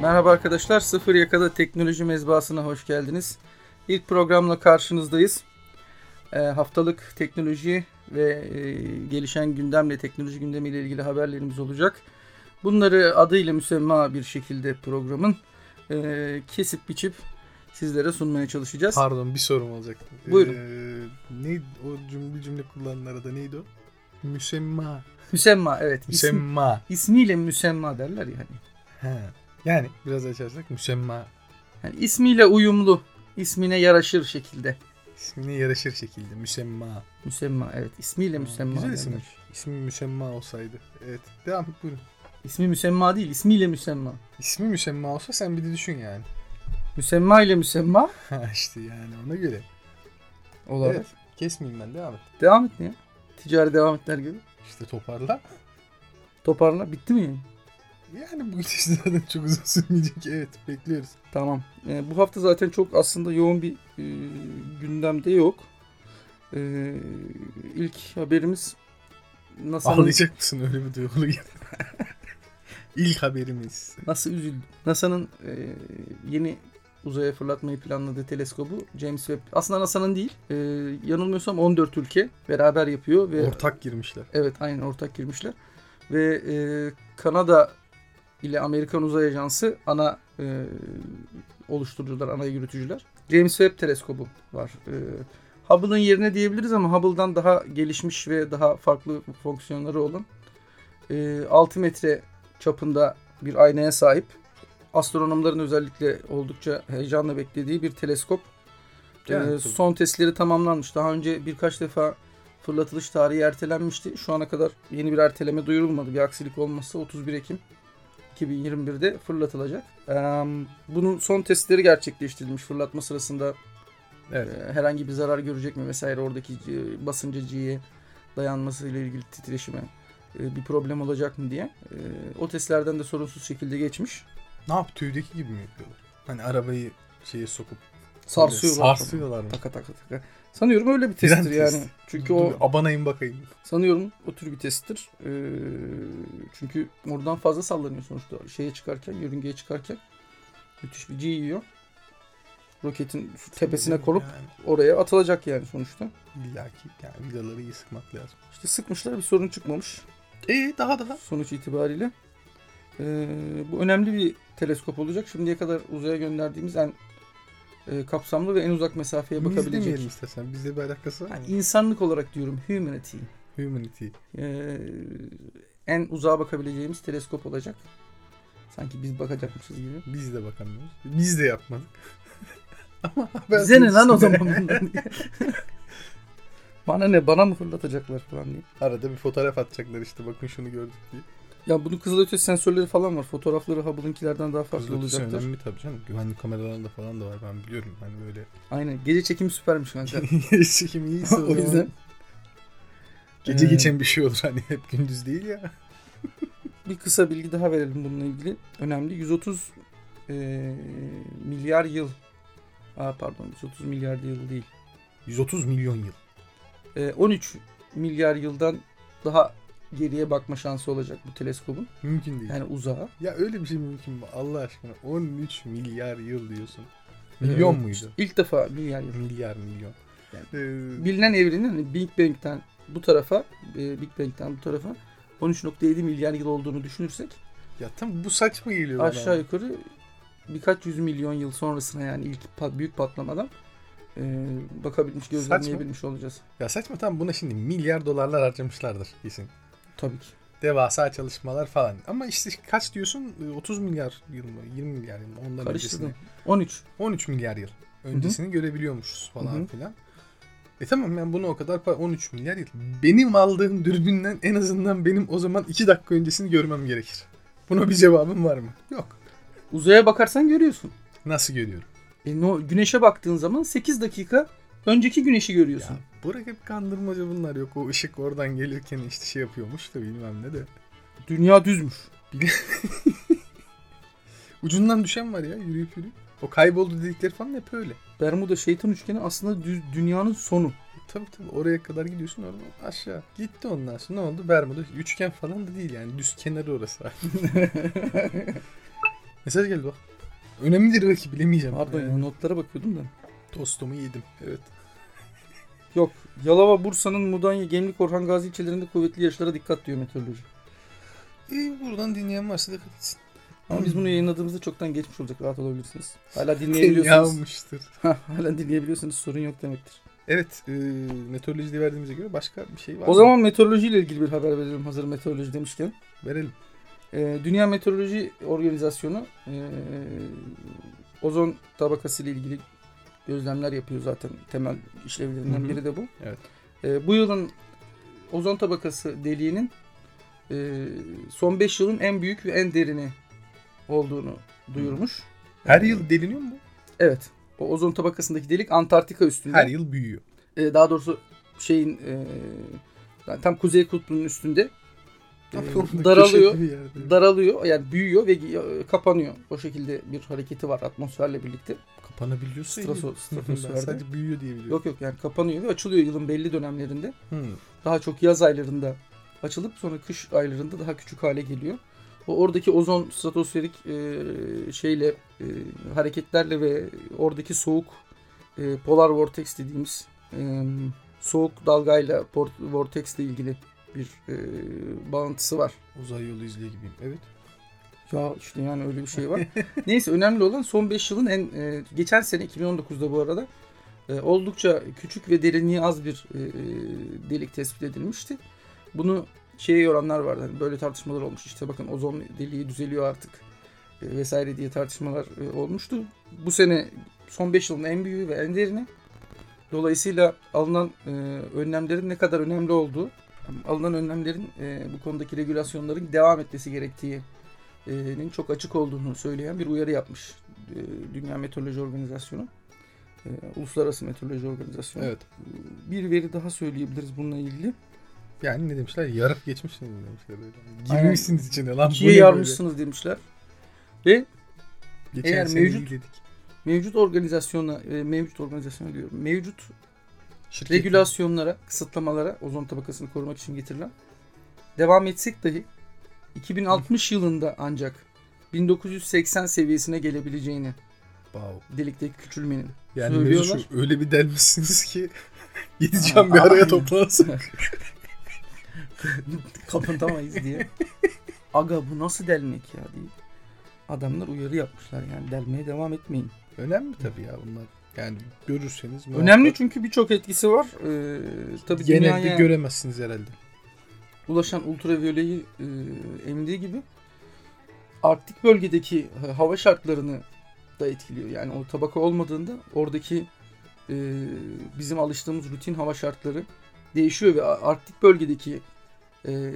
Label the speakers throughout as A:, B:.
A: Merhaba arkadaşlar, Sıfır Yakada Teknoloji Mezbahası'na hoş geldiniz. İlk programla karşınızdayız. Ee, haftalık teknoloji ve e, gelişen gündemle, teknoloji gündemiyle ilgili haberlerimiz olacak. Bunları adıyla müsemma bir şekilde programın e, kesip biçip sizlere sunmaya çalışacağız.
B: Pardon bir sorum olacaktı.
A: Buyurun.
B: Ee, neydi o cümle cümle kullananlara da neydi o? Müsemma.
A: Müsemma, evet. İsmi,
B: Müsemma.
A: ismiyle müsemma derler hani. yani.
B: He. Yani biraz açarsak müsemma
A: yani. ismiyle uyumlu, ismine yaraşır şekilde.
B: ismine yaraşır şekilde müsemma.
A: Müsemma, evet. ismiyle müsemma.
B: Güzel
A: derler.
B: isimmiş. İsmi müsemma olsaydı. Evet. Devam et buyurun.
A: İsmi müsemma değil, ismiyle müsemma.
B: İsmi müsemma olsa sen bir de düşün yani.
A: Müsemma ile müsemma
B: Ha işte yani ona göre.
A: olarak.
B: Evet. Kesmeyeyim ben devam et.
A: Devam et ya. Ticari devam etler gibi.
B: İşte toparla.
A: Toparla. Bitti mi? yani?
B: Yani bu iş zaten çok uzun sürmeyecek. Evet bekliyoruz.
A: Tamam. Ee, bu hafta zaten çok aslında yoğun bir e, gündemde yok. Ee, ilk haberimiz NASA'nın
B: Ağlayacak mısın öyle bir duygulu geldi. İlk haberimiz.
A: nasıl üzüldü? NASA'nın e, yeni uzaya fırlatmayı planladığı teleskobu James Webb. Aslında NASA'nın değil. e, yanılmıyorsam 14 ülke beraber yapıyor ve
B: Ortak girmişler.
A: Evet aynen ortak girmişler. Ve e, Kanada ile Amerikan Uzay Ajansı ana e, oluşturucular, ana yürütücüler. James Webb teleskobu var. E, Hubble'ın yerine diyebiliriz ama Hubble'dan daha gelişmiş ve daha farklı fonksiyonları olan e, 6 metre çapında bir aynaya sahip. Astronomların özellikle oldukça heyecanla beklediği bir teleskop. Ee,
B: Yani tabii.
A: son testleri tamamlanmış. Daha önce birkaç defa fırlatılış tarihi ertelenmişti. Şu ana kadar yeni bir erteleme duyurulmadı. Bir aksilik olmazsa 31 Ekim 2021'de fırlatılacak. Ee, bunun son testleri gerçekleştirilmiş. Fırlatma sırasında
B: Evet.
A: e, herhangi bir zarar görecek mi vesaire oradaki e, basınca G'ye dayanmasıyla ilgili titreşime e, bir problem olacak mı diye. E, O testlerden de sorunsuz şekilde geçmiş.
B: Ne yap tüydeki gibi mi yapıyorlar? Hani arabayı şeye sokup
A: Sarsıyorlar.
B: sarsıyorlar mı?
A: Taka taka taka. Sanıyorum öyle bir
B: Fren
A: testtir yani.
B: testi.
A: Çünkü
B: Dur,
A: o
B: abanayım bakayım.
A: Sanıyorum o tür bir testtir. Ee, çünkü oradan fazla sallanıyor sonuçta. Şeye çıkarken, yörüngeye çıkarken müthiş bir G yiyor. Roketin şu tepesine konup
B: Yani
A: oraya atılacak yani sonuçta.
B: illaki yani vidaları iyi sıkmak lazım.
A: İşte sıkmışlar bir sorun çıkmamış
B: E daha daha.
A: sonuç itibariyle. Ee, bu önemli bir teleskop olacak. Şimdiye kadar uzaya gönderdiğimiz en e, kapsamlı ve en uzak mesafeye
B: Biz
A: bakabilecek. Hani-
B: demeyelim istersen. Bizde bir alakası var mı?
A: Yani insanlık olarak diyorum humanity.
B: Humanity.
A: Ee, en uzağa bakabileceğimiz teleskop olacak. Sanki biz bakacakmışız gibi.
B: Biz de bakamıyoruz. Biz de yapmadık. Ama haber
A: Bize ne lan o
B: konusunda
A: zaman bundan diye. Bana ne bana mı fırlatacaklar falan diye.
B: Arada bir fotoğraf atacaklar işte bakın şunu gördük diye.
A: Ya bunun kızılötesi sensörleri falan var. Fotoğrafları Hubble'ınkilerden daha farklı
B: Kızılötesi
A: olacaktır.
B: önemli tabii canım. Güvenlik kameralarında falan da var ben biliyorum. Hani böyle
A: Aynen. Gece çekimi süpermiş kanka.
B: çekim iyiyse
A: o yüzden
B: Gece
A: Ee,
B: geçen bir şey olur hani hep gündüz değil ya.
A: bir kısa bilgi daha verelim bununla ilgili. Önemli. 130 eee, milyar yıl. Aa pardon 130 milyar yıl değil.
B: 130 milyon yıl.
A: Eee, 13 milyar yıldan daha geriye bakma şansı olacak bu teleskobun.
B: Mümkün değil.
A: Yani uzağa.
B: Ya öyle bir şey mümkün mü? Allah aşkına 13 milyar yıl diyorsun. Milyon
A: Ee,
B: muydu?
A: İlk defa milyar yıl.
B: Milyar milyon.
A: Yani
B: Ee,
A: Bilinen evrenin hani Big Bang'ten bu tarafa, e, Big Bang'ten bu tarafa 13.7 milyar yıl olduğunu düşünürsek
B: ya tam bu saçma geliyor bana.
A: aşağı yukarı birkaç yüz milyon yıl sonrasına yani ilk pa- büyük patlamadan e, bakabilmiş, gözlemleyebilmiş olacağız.
B: Ya saçma tam buna şimdi milyar dolarlar harcamışlardır kesin.
A: Tabii ki.
B: Devasa çalışmalar falan. Ama işte kaç diyorsun? Ee, 30 milyar yıl mı? 20 milyar yıl mı? Ondan öncesini.
A: Karıştırdım. 13.
B: 13 milyar yıl öncesini görebiliyormuşuz falan
A: Hı hı.
B: filan. E tamam ben bunu o kadar pa- 13 milyar yıl. Benim aldığım dürbünden en azından benim o zaman 2 dakika öncesini görmem gerekir. Buna bir cevabım var mı? Yok.
A: Uzaya bakarsan görüyorsun.
B: Nasıl görüyorum?
A: E, no, güneşe baktığın zaman 8 dakika önceki güneşi görüyorsun.
B: Ya Burak hep kandırmaca bunlar yok. O ışık oradan gelirken işte şey yapıyormuş da bilmem ne de.
A: Dünya düzmüş.
B: Ucundan düşen var ya yürüyüp yürüyüp. O kayboldu dedikleri falan hep öyle.
A: Bermuda şeytan üçgeni aslında düz, dünyanın sonu.
B: Tabii tabii oraya kadar gidiyorsun oradan aşağı. Gitti ondan sonra ne oldu? Bermuda üçgen falan da değil yani düz kenarı orası. Mesaj geldi bak. Önemlidir belki bilemeyeceğim.
A: Pardon ya,
B: Yani.
A: notlara bakıyordum da.
B: Tostumu yedim. Evet.
A: Yok. Yalova, Bursa'nın Mudanya, Gemlik, Orhan Gazi ilçelerinde kuvvetli yağışlara dikkat diyor meteoroloji.
B: İyi E, buradan dinleyen varsa dikkat etsin.
A: Ama biz bunu yayınladığımızda çoktan geçmiş olacak. Rahat olabilirsiniz. Hala dinleyebiliyorsunuz.
B: Yağmıştır.
A: Hala dinleyebiliyorsunuz. Sorun yok demektir.
B: Evet, e, meteorolojide verdiğimize göre başka bir şey var.
A: O
B: mı?
A: zaman meteorolojiyle ilgili bir haber verelim hazır meteoroloji demişken.
B: verelim.
A: Ee, Dünya Meteoroloji Organizasyonu ee, ozon tabakası ile ilgili gözlemler yapıyor zaten. Temel işlevlerinden
B: Hı hı.
A: biri de bu.
B: Evet.
A: Ee, bu yılın ozon tabakası deliğinin ee, son 5 yılın en büyük ve en derini olduğunu duyurmuş.
B: Her yıl deliniyor mu? bu?
A: Evet. O ozon tabakasındaki delik Antarktika üstünde.
B: Her yıl büyüyor.
A: Ee, daha doğrusu şeyin ee, yani tam kuzey kutbunun üstünde ee,
B: şey
A: daralıyor
B: Köşe bir yerde.
A: daralıyor yani büyüyor ve gi- e, kapanıyor. O şekilde bir hareketi var atmosferle birlikte.
B: Kapanabiliyorsa iyi.
A: Straso,
B: Şey Ben
A: stratosferde.
B: sadece büyüyor diye biliyorum.
A: Yok yok yani kapanıyor ve açılıyor yılın belli dönemlerinde.
B: Hmm.
A: Daha çok yaz aylarında açılıp sonra kış aylarında daha küçük hale geliyor. O oradaki ozon stratosferik e, şeyle e, hareketlerle ve oradaki soğuk e, polar vortex dediğimiz e, soğuk dalgayla port- vortexle ilgili bir e, bağıntısı var.
B: Uzay yolu izliyor gibiyim. Evet.
A: Ya işte yani öyle bir şey var. Neyse önemli olan son 5 yılın en e, geçen sene 2019'da bu arada e, oldukça küçük ve derinliği az bir e, e, delik tespit edilmişti. Bunu şeye yoranlar vardı. Hani böyle tartışmalar olmuş. İşte bakın ozon deliği düzeliyor artık e, vesaire diye tartışmalar e, olmuştu. Bu sene son 5 yılın en büyüğü ve en derini. Dolayısıyla alınan e, önlemlerin ne kadar önemli olduğu, alınan önlemlerin e, bu konudaki regülasyonların devam etmesi gerektiği e, nin çok açık olduğunu söyleyen bir uyarı yapmış e, Dünya Meteoroloji Organizasyonu. E, Uluslararası Meteoroloji Organizasyonu.
B: Evet.
A: E, Bir veri daha söyleyebiliriz bununla ilgili.
B: Yani ne demişler? Yarıp geçmişsiniz mi demişler. Böyle.
A: Aynen.
B: Girmişsiniz içine lan. bu
A: İkiye
B: ne
A: yarmışsınız demişler. Ve
B: böyle? Geçen
A: Eğer
B: sene
A: mevcut-
B: iyi dedik.
A: mevcut organizasyona, e, mevcut organizasyona diyorum, mevcut
B: Şirketin-
A: regülasyonlara, kısıtlamalara, ozon tabakasını korumak için getirilen devam etsek dahi 2060 yılında ancak 1980 seviyesine gelebileceğini
B: Wow.
A: delikteki küçülmenin
B: Yani
A: söylüyorlar.
B: mevzu şu, öyle bir delmişsiniz ki gideceğim bir araya
A: Aynen.
B: toplansın.
A: kapatamayız diye. Aga bu nasıl delmek ya diye. Adamlar uyarı yapmışlar yani delmeye devam etmeyin.
B: Önemli tabii ya bunlar. Yani görürseniz. muhakkak-
A: Önemli çünkü birçok etkisi var. Ee, tabii
B: Genelde
A: dünyaya
B: göremezsiniz herhalde.
A: ulaşan ultraviyoleyi e, emdiği gibi Arktik bölgedeki ha- hava şartlarını da etkiliyor. Yani o tabaka olmadığında oradaki e, bizim alıştığımız rutin hava şartları değişiyor ve A- Arktik bölgedeki e,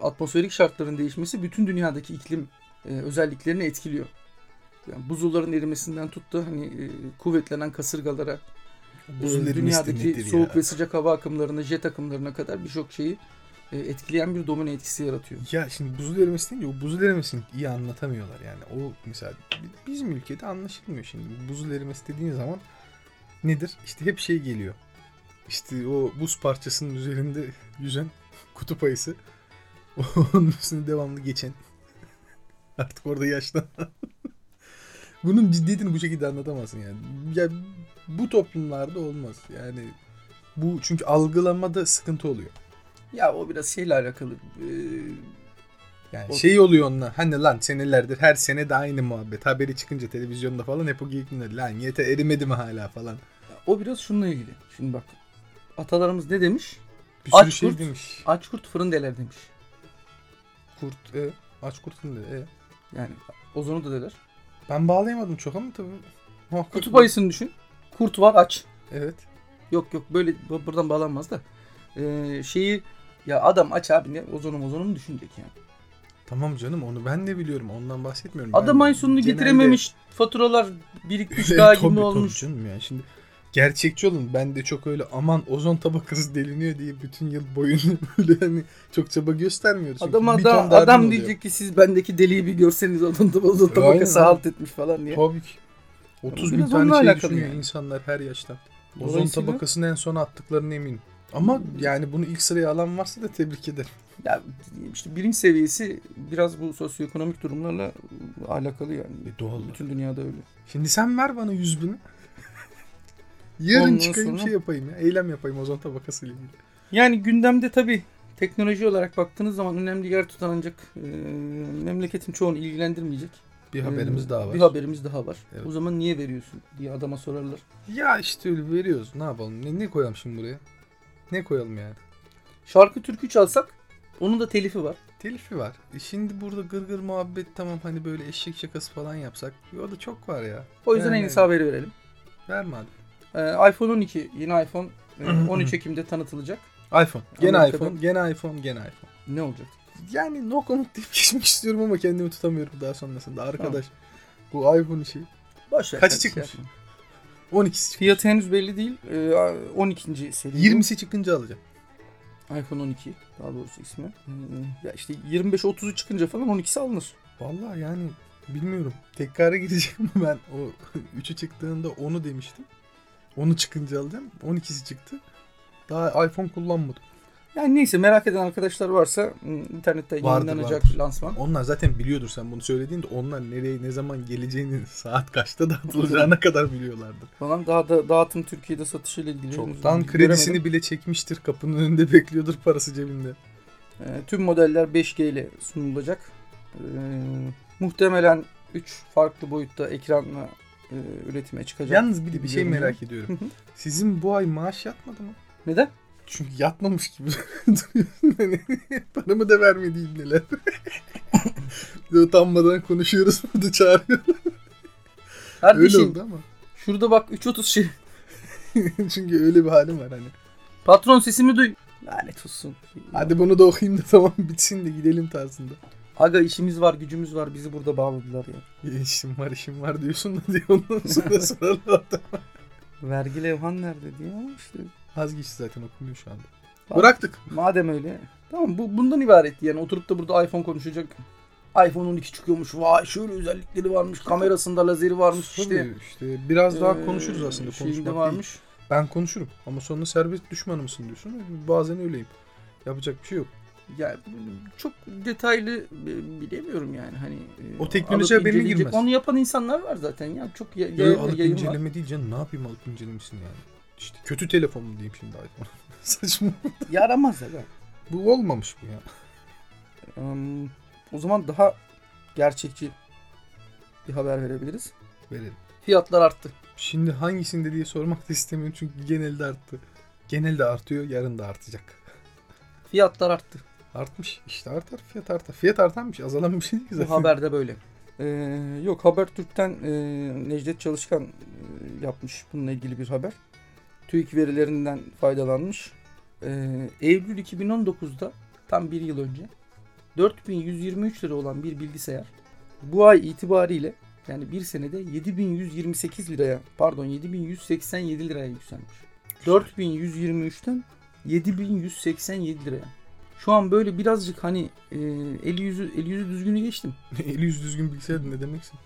A: atmosferik şartların değişmesi bütün dünyadaki iklim e, özelliklerini etkiliyor. Yani buzulların erimesinden tut da hani e, kuvvetlenen kasırgalara,
B: Buzul
A: e,
B: erimesi de
A: dünyadaki
B: nedir ya?
A: soğuk ve sıcak hava akımlarına, jet akımlarına kadar birçok şeyi e, etkileyen bir domino etkisi yaratıyor.
B: Ya şimdi buzul erimesi deyince o buzul erimesini iyi anlatamıyorlar yani. O mesela bi- bizim ülkede anlaşılmıyor şimdi. Buzul erimesi dediğin zaman nedir? İşte hep şey geliyor. İşte o buz parçasının üzerinde yüzen kutup ayısı. Onun üstüne devamlı geçen. Artık orada yaşlanan. Bunun ciddiyetini bu şekilde anlatamazsın yani. Ya bu toplumlarda olmaz. Yani bu çünkü algılamada sıkıntı oluyor.
A: Ya o biraz şeyle alakalı. e,
B: Yani
A: O-
B: şey oluyor onlar. Hani lan senelerdir her sene de aynı muhabbet. Haberi çıkınca televizyonda falan hep o geyikler. Lan yeter erimedi mi hala falan.
A: o biraz şununla ilgili. Şimdi bak. Atalarımız ne demiş?
B: Bir sürü
A: Aç
B: şey
A: kurt.
B: demiş.
A: Aç kurt fırın deler demiş.
B: Kurt. E, aç kurtun dedi. E.
A: Yani ozonu da deler.
B: Ben bağlayamadım çok ama tabii. Muhakkak
A: Kutup ayısını düşün. Kurt var aç.
B: Evet.
A: Yok yok böyle bu- buradan bağlanmaz da. E, şeyi ya adam aç abi ne ozonu ozonu mu düşünecek yani.
B: Tamam canım onu ben de biliyorum. Ondan bahsetmiyorum.
A: Adam
B: Ben
A: ay sonunu
B: genelde-
A: getirememiş faturalar birikmiş
B: Tabii,
A: daha
B: tabii
A: gibi olmuş.
B: canım ya. Şimdi gerçekçi olun. Ben de çok öyle aman ozon tabakası deliniyor diye bütün yıl boyunca böyle hani çok çaba göstermiyoruz. Çünkü
A: Adama
B: bir
A: da,
B: ton derdin
A: adam
B: oluyor.
A: diyecek ki siz bendeki deliği bir görseniz onun da bozuldu
B: E, Aynen
A: tabakası
B: abi.
A: halt etmiş falan diye.
B: Tabii ki. 30 bin
A: Biraz onunla
B: tane şey
A: alakalı
B: düşünüyor
A: yani.
B: insanlar her yaştan. Ozon
A: Dolayısıyla-
B: tabakasını en sona attıklarına eminim. Ama yani bunu ilk sıraya alan varsa da tebrik ederim.
A: Ya işte birinci seviyesi biraz bu sosyoekonomik durumlarla alakalı yani.
B: E, doğal.
A: Bütün dünyada öyle.
B: Şimdi sen ver bana 100 bini. Yarın
A: Ondan
B: çıkayım
A: sonra-
B: şey yapayım ya. Eylem yapayım ozon tabakasıyla ilgili.
A: Yani gündemde tabii teknoloji olarak baktığınız zaman önemli yer tutan ancak e, memleketin çoğunu ilgilendirmeyecek.
B: Bir haberimiz
A: E,
B: daha var.
A: Bir haberimiz daha var.
B: Evet.
A: O zaman niye veriyorsun diye adama sorarlar.
B: Ya işte öyle veriyoruz. Ne yapalım? Ne, ne koyalım şimdi buraya? Ne koyalım yani?
A: Şarkı türkü çalsak onun da telifi var.
B: Telifi var. E şimdi burada gırgır muhabbet tamam hani böyle eşek şakası falan yapsak. E o da çok var ya.
A: O yüzden
B: Yani-
A: en iyisi haberi verelim.
B: Verme abi.
A: E, iPhone 12 yeni iPhone e, 13 Ekim'de tanıtılacak.
B: iPhone. Gene
A: Amerika'da-
B: iPhone. Gene iPhone. Gene iPhone.
A: Ne olacak?
B: Yani no comment deyip geçmek istiyorum ama kendimi tutamıyorum daha sonrasında. Arkadaş bu iPhone işi
A: Boş ver.
B: Kaçı
A: sen şey
B: çıkmış?
A: yapma.
B: 12'si çıkıyor.
A: Fiyatı henüz belli değil. E, 12. seri.
B: 20'si çıkınca alacağım.
A: iPhone 12 daha doğrusu ismi. E, Ya işte 25-30'u çıkınca falan 12'si alınır.
B: Vallahi yani bilmiyorum. Tekrara gireceğim mi ben? O 3'ü çıktığında 10'u demiştim. Onu çıkınca alacağım. 12'si çıktı. Daha iPhone kullanmadım.
A: Yani neyse merak eden arkadaşlar varsa m, internette
B: Vardır,
A: yayınlanacak
B: vardır.
A: lansman.
B: Onlar zaten biliyordur sen bunu söylediğinde onlar nereye ne zaman geleceğini saat kaçta dağıtılacağına kadar biliyorlardır.
A: Falan daha da dağıtım Türkiye'de satışıyla ilgili. henüz
B: Çoktan
A: göremedim.
B: kredisini bile çekmiştir kapının önünde bekliyordur parası cebinde.
A: Ee, tüm modeller 5G ile sunulacak. Ee, muhtemelen 3 farklı boyutta ekranla e, üretime çıkacak.
B: Yalnız bir de bir şey
A: Görünüyor.
B: merak
A: Hı
B: ediyorum.
A: hı.
B: Sizin bu ay maaş yatmadı mı?
A: Neden?
B: Çünkü yatmamış gibi duruyorsun. Hani paramı da vermedi neler. Utanmadan konuşuyoruz burada çağırıyor. Öyle
A: Kardeşim
B: oldu ama.
A: şurada bak 3.30 şey.
B: Çünkü öyle bir halim var hani.
A: Patron sesimi duy. Lanet olsun.
B: Hadi bunu da okuyayım da tamam bitsin de gidelim tarzında.
A: Aga işimiz var gücümüz var bizi burada bağladılar ya.
B: Ya işim var işim var diyorsun da diye ondan sonra sorarlar adam.
A: Vergi levhan nerede diye ama işte.
B: Vazgeçti zaten okumuyor şu anda.
A: Bak.
B: Bıraktık.
A: Madem öyle. Tamam bu bundan ibaretti yani oturup da burada iPhone konuşacak. iPhone 12 çıkıyormuş. Vay şöyle özellikleri varmış. Kamerasında lazeri varmış işte.
B: Tabii işte biraz daha
A: Ee,
B: konuşuruz aslında
A: şeyinde
B: konuşmak değil.
A: varmış.
B: Ben konuşurum ama sonra serbest düşmanı mısın diyorsun. Bazen öyleyim. Yapacak bir şey yok.
A: Ya bu- çok detaylı e, bilemiyorum yani hani. e,
B: O teknoloji
A: alıp
B: haberine
A: inceleyecek.
B: girmez.
A: Onu yapan insanlar var zaten ya. Çok ya,
B: Ya,
A: ya-
B: alıp
A: yayın var.
B: inceleme değil canım. Ne yapayım alıp incelemişsin yani. İşte kötü telefon mu diyeyim şimdi iPhone. Saçma.
A: Yaramaz aga.
B: Bu olmamış bu ya.
A: Em, o zaman daha gerçekçi bir haber verebiliriz.
B: Verelim.
A: Fiyatlar arttı.
B: Şimdi hangisinde diye sormak da istemiyorum çünkü genelde arttı. Genelde artıyor yarın da artacak.
A: Fiyatlar arttı.
B: Artmış. İşte artar fiyat artar. Fiyat artan bir şey. Azalan bir şey değil ki
A: Bu
B: zaten.
A: haberde böyle. Ee, yok Habertürk'ten e, Necdet Çalışkan e, yapmış bununla ilgili bir haber. TÜİK verilerinden faydalanmış. Ee, Eylül 2019'da tam bir yıl önce 4123 lira olan bir bilgisayar bu ay itibariyle yani bir senede 7128 liraya pardon 7187 liraya yükselmiş. 4123'ten 7187 liraya. Şu an böyle birazcık hani e, eli yüzü eli yüzü düzgünü geçtim.
B: Eli yüz düzgün bilgisayar ne demeksin?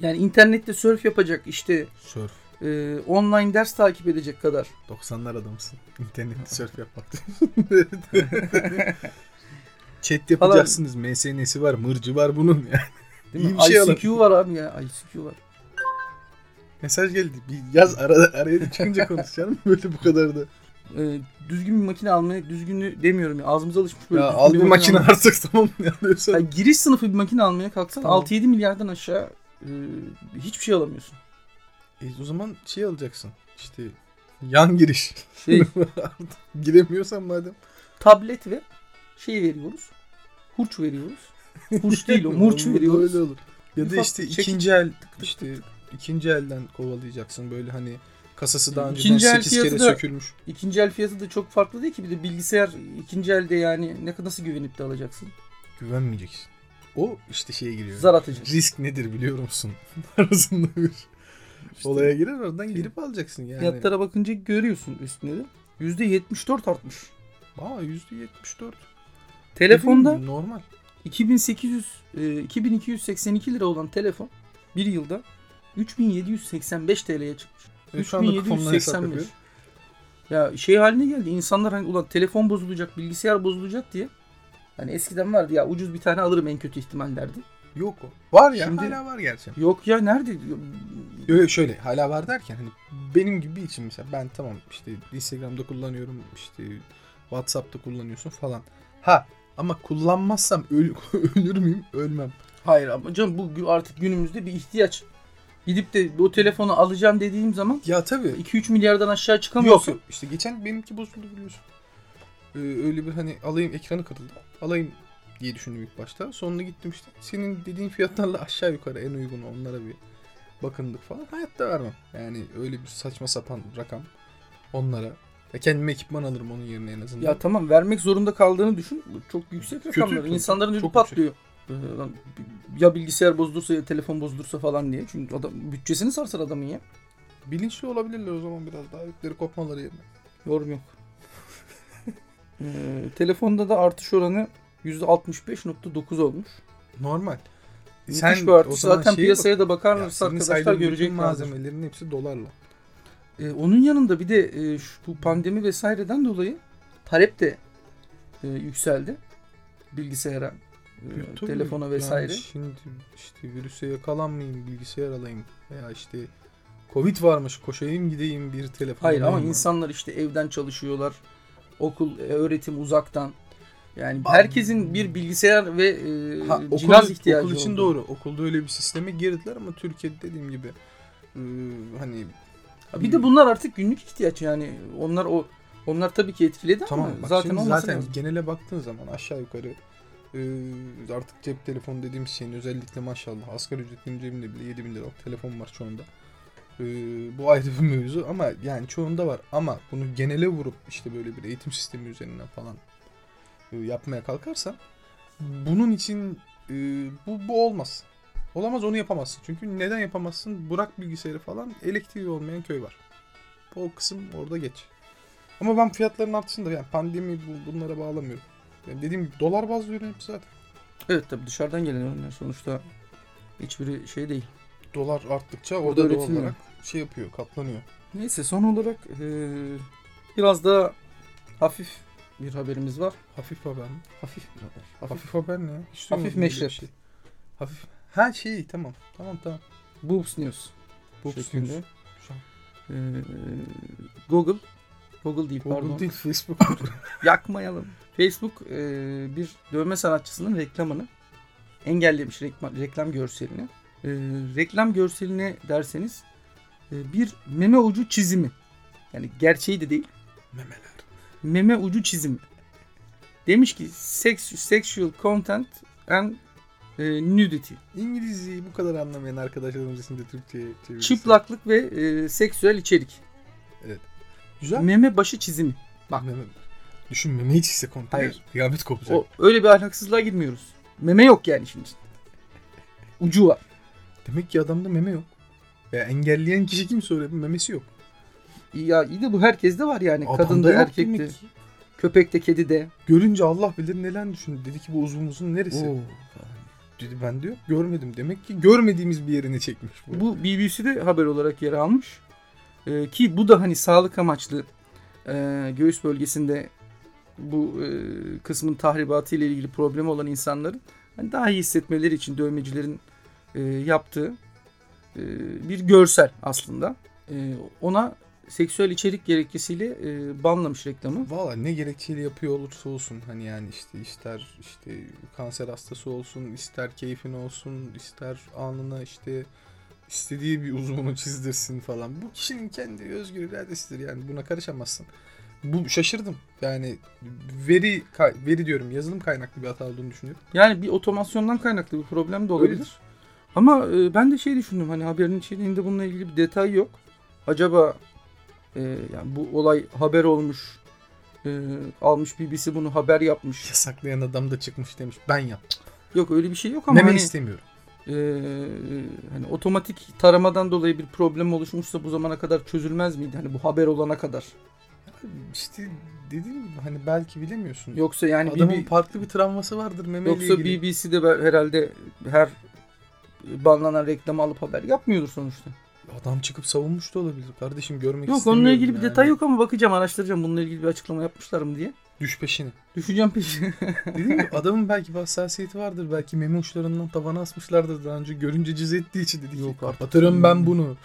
A: Yani internette surf yapacak işte
B: Surf.
A: e, online ders takip edecek kadar.
B: 90'lar adamısın. İnternette surf yapmak diyorsun. Chat yapacaksınız. MSN'si var. Mırcı var bunun ya.
A: Değil mi?
B: İyi bir şey alın.
A: ICQ var abi ya. ICQ var.
B: Mesaj geldi. Bir yaz arada araya da çıkınca konuşalım. Böyle bu kadar da.
A: E, düzgün bir makine almaya düzgünü demiyorum ya. Ağzımıza alışmış böyle.
B: Ya
A: düzgün
B: al bir makine
A: almaya-
B: artık tamam mı? Ya diyorsan.
A: Ya giriş sınıfı bir makine almaya kalksan
B: Tamam.
A: 6-7 milyardan aşağı e, hiçbir şey alamıyorsun.
B: E, o zaman şey alacaksın. İşte yan giriş.
A: Şey,
B: Giremiyorsan madem.
A: tablet ve şey veriyoruz. Hurç veriyoruz. Hurç değil o. Murç
B: Olur,
A: veriyoruz.
B: Öyle olur. Ya da
A: Ufak
B: işte
A: bir çekiç.
B: ikinci el işte ikinci elden kovalayacaksın böyle hani kasası daha önceden
A: İkinci el
B: 8 kere
A: fiyatı da-
B: sökülmüş.
A: İkinci el fiyatı da çok farklı değil ki. Bir de bilgisayar ikinci elde yani ne nasıl güvenip de alacaksın?
B: Güvenmeyeceksin. O işte şeye giriyor.
A: Zar atıcı.
B: Risk nedir biliyor musun? Arasında bir olaya girer
A: şey
B: oradan girip alacaksın yani.
A: Fiyatlara bakınca görüyorsun üstünde de. %74 artmış.
B: Aa %74.
A: Telefonda
B: Dediğim gibi normal.
A: 2800 e, 2282 lira olan telefon bir yılda 3785 TL'ye çıkmış.
B: E, şu anda kafamdan hesap yapıyorum.
A: 3785. Ya şey haline geldi. İnsanlar hani ulan telefon bozulacak, bilgisayar bozulacak diye. Hani eskiden vardı ya ucuz bir tane alırım en kötü ihtimal derdi.
B: Yok o. Var ya
A: Şimdi-
B: hala var gerçi.
A: Yok ya nerede?
B: Öyle şöyle hala var derken hani benim gibi için mesela ben tamam işte Instagram'da kullanıyorum işte WhatsApp'ta kullanıyorsun falan. Ha ama kullanmazsam öl- ölür müyüm? Ölmem.
A: Hayır ama canım bu gü- artık günümüzde bir ihtiyaç. Gidip de o telefonu alacağım dediğim zaman
B: Ya tabii
A: 2-3 milyardan aşağı
B: Yok
A: çıkamıyorsun.
B: yok. İşte geçen benimki bozuldu biliyorsun. Ee, öyle bir hani alayım ekranı kırıldı. Alayım diye düşündüm ilk başta. Sonra gittim işte senin dediğin fiyatlarla aşağı yukarı en uygun onlara bir bakındık falan. Hayatta vermem. Yani öyle bir saçma sapan rakam onlara. Ya kendime ekipman alırım onun yerine en azından.
A: Ya tamam vermek zorunda kaldığını düşün. Bu Çok yüksek
B: Kötü,
A: rakamlar.
B: kötü.
A: İnsanların ödü
B: Çok
A: patlıyor. Ee, lan Ya bilgisayar bozulursa ya telefon bozulursa falan diye. Çünkü adam bütçesini sarsar adamın ya.
B: Bilinçli olabilirler o zaman biraz daha ipleri kopmaları yerine.
A: Yorum yok. Ee, telefonda da artış oranı %65.9 olmuş.
B: Normal.
A: Müthiş bir artış.
B: o zaman
A: Zaten
B: şeye
A: piyasaya da
B: bak. Ya
A: bakarlarsa
B: senin
A: arkadaşlar
B: saydığın bütün
A: görecek
B: malzemelerin hepsi dolarla.
A: Ee, onun yanında bir de e, şu, bu pandemi vesaireden dolayı talep de e, yükseldi bilgisayara, e,
B: Tabii,
A: telefona
B: yani
A: vesaire.
B: şimdi işte virüse yakalanmayayım, bilgisayar alayım veya işte Covid varmış koşayım gideyim bir telefon
A: Hayır ama
B: alayım.
A: insanlar işte evden çalışıyorlar. Okul, e, öğretim uzaktan. Yani
B: Ba-
A: herkesin bir bilgisayar ve e,
B: Ha, okul,
A: cihaz ihtiyacı
B: okul için
A: oldu.
B: doğru. Okulda öyle bir sisteme girdiler ama Türkiye'de dediğim gibi e, hani
A: Ha, Bir de bunlar artık günlük ihtiyaç yani. Onlar o onlar tabii ki etkiledi
B: tamam
A: ama
B: bak
A: zaten
B: zaten
A: olması
B: zaten
A: lazım.
B: genele baktığın zaman aşağı yukarı e, artık cep telefonu dediğim şeyin özellikle maşallah asgari ücretin cebinde bile 7000 liralık telefon var çoğunda. E, bu ayrı bir mevzu ama yani çoğunda var ama bunu genele vurup işte böyle bir eğitim sistemi üzerinden falan e, yapmaya kalkarsan bunun için e, bu, bu olmaz. Olamaz onu yapamazsın. Çünkü neden yapamazsın? Burak bilgisayarı falan elektriği olmayan köy var. O kısım orada geç. Ama ben fiyatların artışını da yani pandemi bu, bunlara bağlamıyorum. Yani dediğim gibi dolar bazlı ürün hepsi zaten.
A: Evet tabii dışarıdan gelen ürünler sonuçta hiçbiri şey değil.
B: Dolar arttıkça
A: Burada
B: orada doğal
A: üretilmiyor.
B: olarak şey yapıyor, katlanıyor.
A: Neyse son olarak eee, biraz daha hafif bir haberimiz var.
B: Hafif haber mi?
A: Hafif bir haber.
B: Hafif,
A: Hafif.
B: haber ne ya?
A: Hafif
B: Hiç duymadım böyle bir şey.
A: meşrep.
B: Hafif. Ha şey tamam. Tamam tamam.
A: Boobs News
B: Bu
A: şeklinde.
B: şeklinde. Şu an
A: Eee, Google Google değil
B: Google
A: pardon.
B: değil Facebook.
A: Yakmayalım. Facebook eee, bir dövme sanatçısının reklamını engellemiş reklam, reklam görselini. Eee, reklam görselini derseniz eee, bir meme ucu çizimi. Yani gerçeği de değil.
B: Memeler.
A: meme ucu çizimi. Demiş ki sex, sexual content and e, nudity.
B: İngilizceyi bu kadar anlamayan arkadaşlarımız için de Türkçe'ye çevirirsin.
A: Çıplaklık ve e, seksüel içerik.
B: Güzel.
A: Meme başı çizimi.
B: Bak meme. Düşün memeyi çizse konteyner.
A: Hayır.
B: Kıyamet kopacak.
A: O, öyle bir ahlaksızlığa gitmiyoruz. Meme yok yani şimdi. Ucu var.
B: Demek ki adamda meme yok. Ya engelleyen kişi kim söyledi? Memesi yok.
A: Ya iyi de bu herkeste var yani.
B: Adamda
A: Kadında,
B: yok
A: erkekte,
B: demek ki.
A: köpekte, kedide.
B: Görünce Allah bilir neler düşündü. Dedi ki bu uzun uzun neresi?
A: Oo.
B: Dedi ben de yok görmedim. Demek ki görmediğimiz bir yerini çekmiş bu.
A: Bu BBC'de haber olarak yer almış. Ee, ki bu da hani sağlık amaçlı e, göğüs bölgesinde bu e, kısmın tahribatı ile ilgili problemi olan insanların hani daha iyi hissetmeleri için dövmecilerin e, yaptığı e, bir görsel aslında. E, ona seksüel içerik gerekçesiyle e, banlamış reklamı.
B: Valla ne gerekçeyle yapıyor olursa olsun hani yani işte ister işte kanser hastası olsun, ister keyfin olsun, ister anına işte istediği bir uzvunu çizdirsin falan. Bu kişinin kendi özgür iradesidir yani buna karışamazsın. Bu şaşırdım. Yani veri kay- veri diyorum yazılım kaynaklı bir hata olduğunu düşünüyorum.
A: Yani bir otomasyondan kaynaklı bir problem de olabilir.
B: Öyledir.
A: Ama e, ben de şey düşündüm hani haberin içeriğinde bununla ilgili bir detay yok. Acaba e, yani bu olay haber olmuş, e, almış BBC bunu haber yapmış.
B: Yasaklayan adam da çıkmış demiş ben yaptım.
A: Yok öyle bir şey yok ama
B: Meme
A: hani,
B: istemiyorum.
A: e, hani otomatik taramadan dolayı bir problem oluşmuşsa bu zamana kadar çözülmez miydi? Hani bu haber olana kadar.
B: İşte dediğim gibi hani belki bilemiyorsun.
A: Yoksa yani
B: Adamın
A: BB
B: farklı bir travması vardır memeyle
A: yoksa
B: ilgili.
A: e, BBC'de herhalde her banlanan reklamı alıp haber yapmıyordur sonuçta.
B: Adam çıkıp savunmuş da olabilir. Kardeşim görmek
A: Yok
B: istemiyorum
A: onunla ilgili bir
B: yani.
A: detay yok ama bakacağım araştıracağım bununla ilgili bir açıklama yapmışlar mı diye.
B: Düş peşine.
A: Düşeceğim peşine.
B: Dedim ya adamın belki bir hassasiyeti vardır. Belki meme uçlarından tavana asmışlardır daha önce. Görünce cız ettiği için dedi ki
A: Yok artık.
B: kapatırım ben bunu.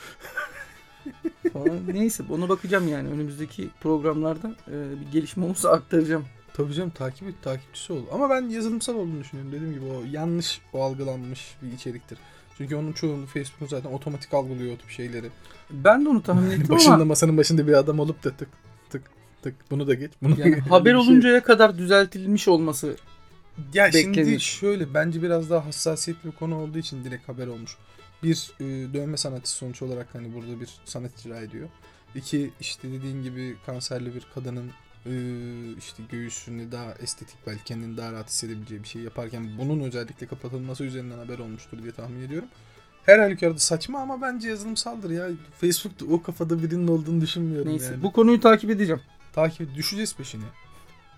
A: falan. Neyse ona bakacağım yani önümüzdeki programlarda e, bir gelişme olursa aktaracağım.
B: Tabii canım takip et takipçisi ol. Ama ben yazılımsal olduğunu düşünüyorum. Dediğim gibi o yanlış o algılanmış bir içeriktir. Çünkü onun çoğunu Facebook zaten otomatik algılıyor o tip şeyleri.
A: Ben de onu tahmin ettim
B: Başında
A: ama
B: masanın başında bir adam olup da tık tık tık bunu da geç. Bunu da
A: yani
B: geç.
A: haber
B: Öyle bir şey.
A: oluncaya kadar düzeltilmiş olması
B: Ya
A: beklenir.
B: şimdi şöyle bence biraz daha hassasiyetli bir konu olduğu için direkt haber olmuş. Bir e, dövme sanatçısı sonuç olarak hani burada bir sanat icra ediyor. İki işte dediğin gibi kanserli bir kadının e, işte göğsünü daha estetik belki kendini daha rahat hissedebileceği bir şey yaparken bunun özellikle kapatılması üzerinden haber olmuştur diye tahmin ediyorum. Her halükarda saçma ama bence yazılımsaldır ya. Facebook'ta o kafada birinin olduğunu düşünmüyorum
A: neyse
B: yani.
A: bu konuyu takip edeceğim.
B: Takip düşeceğiz peşine.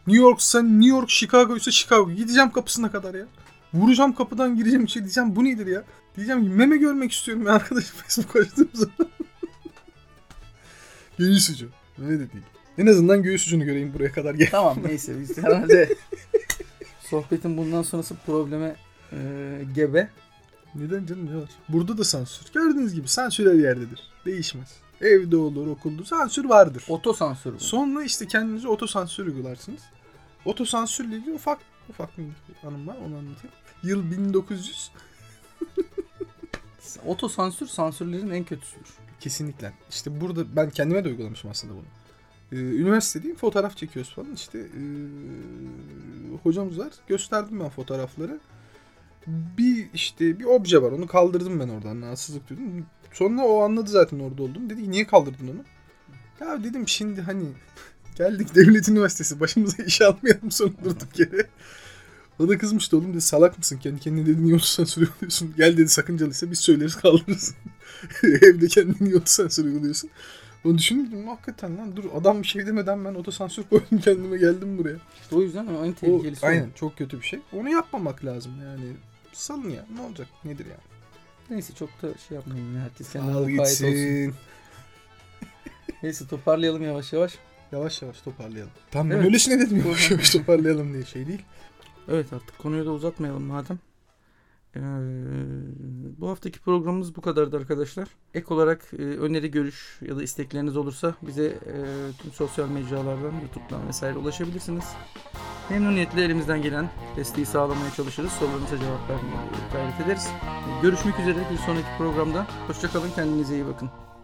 B: New York'sa New York, Chicago ise Chicago. Gideceğim kapısına kadar ya. Vuracağım kapıdan gireceğim içeri diyeceğim bu nedir ya? Diyeceğim ki meme görmek istiyorum ya arkadaşım Facebook açtığım zaman. göğüs ucu. Meme de değil. En azından göğüs ucunu göreyim buraya kadar gel.
A: Tamam neyse biz herhalde sohbetin bundan sonrası probleme e, gebe.
B: Neden canım ne var? Burada da sansür. Gördüğünüz gibi sansür her yerdedir. Değişmez. Evde olur, okulda sansür vardır.
A: Otosansür bu.
B: Sonra işte kendinize otosansür uygularsınız. Otosansürle ilgili ufak ufak bir anım var onu anlatayım. Yıl 1900
A: Otosansür sansürlerin en kötüsüdür.
B: kesinlikle. İşte burada ben kendime de uygulamışım aslında bunu. Ee, üniversitedeyim fotoğraf çekiyoruz falan işte ee, hocamız var gösterdim ben fotoğrafları. Bir işte bir obje var onu kaldırdım ben oradan rahatsızlık duydum. Sonra o anladı zaten orada oldum. Dedi ki niye kaldırdın onu? Ya dedim şimdi hani geldik devlet üniversitesi başımıza iş almayalım sonra durduk yere. O da kızmıştı oğlum dedi salak mısın kendi kendine dedi niye otursan uyguluyorsun. Gel dedi sakıncalıysa biz söyleriz kaldırırız. Evde kendini niye otosansür uyguluyorsun. Onu düşündüm dedim, hakikaten lan dur adam bir şey demeden ben otosansür koydum kendime geldim buraya.
A: İşte o yüzden o en
B: O,
A: tehlikelisi o.
B: aynen çok kötü bir şey. Onu yapmamak lazım yani. Salın ya ne olacak nedir yani.
A: Neyse çok da şey yapmayın. ya, Herkes kendine
B: Al
A: mukayyet olsun.
B: gitsin.
A: Neyse toparlayalım yavaş yavaş.
B: Yavaş yavaş toparlayalım. Tam
A: Evet.
B: ben öylesine dedim yavaş yavaş toparlayalım diye şey değil.
A: Evet artık konuyu da uzatmayalım madem. Ee, bu haftaki programımız bu kadardı arkadaşlar. Ek olarak e, öneri, görüş ya da istekleriniz olursa bize e, tüm sosyal mecralardan, YouTube'dan vesaire ulaşabilirsiniz. Memnuniyetle elimizden gelen desteği sağlamaya çalışırız. Sorularınıza cevap vermeye gayret ederiz. Görüşmek üzere bir sonraki programda. Hoşçakalın, kendinize iyi bakın.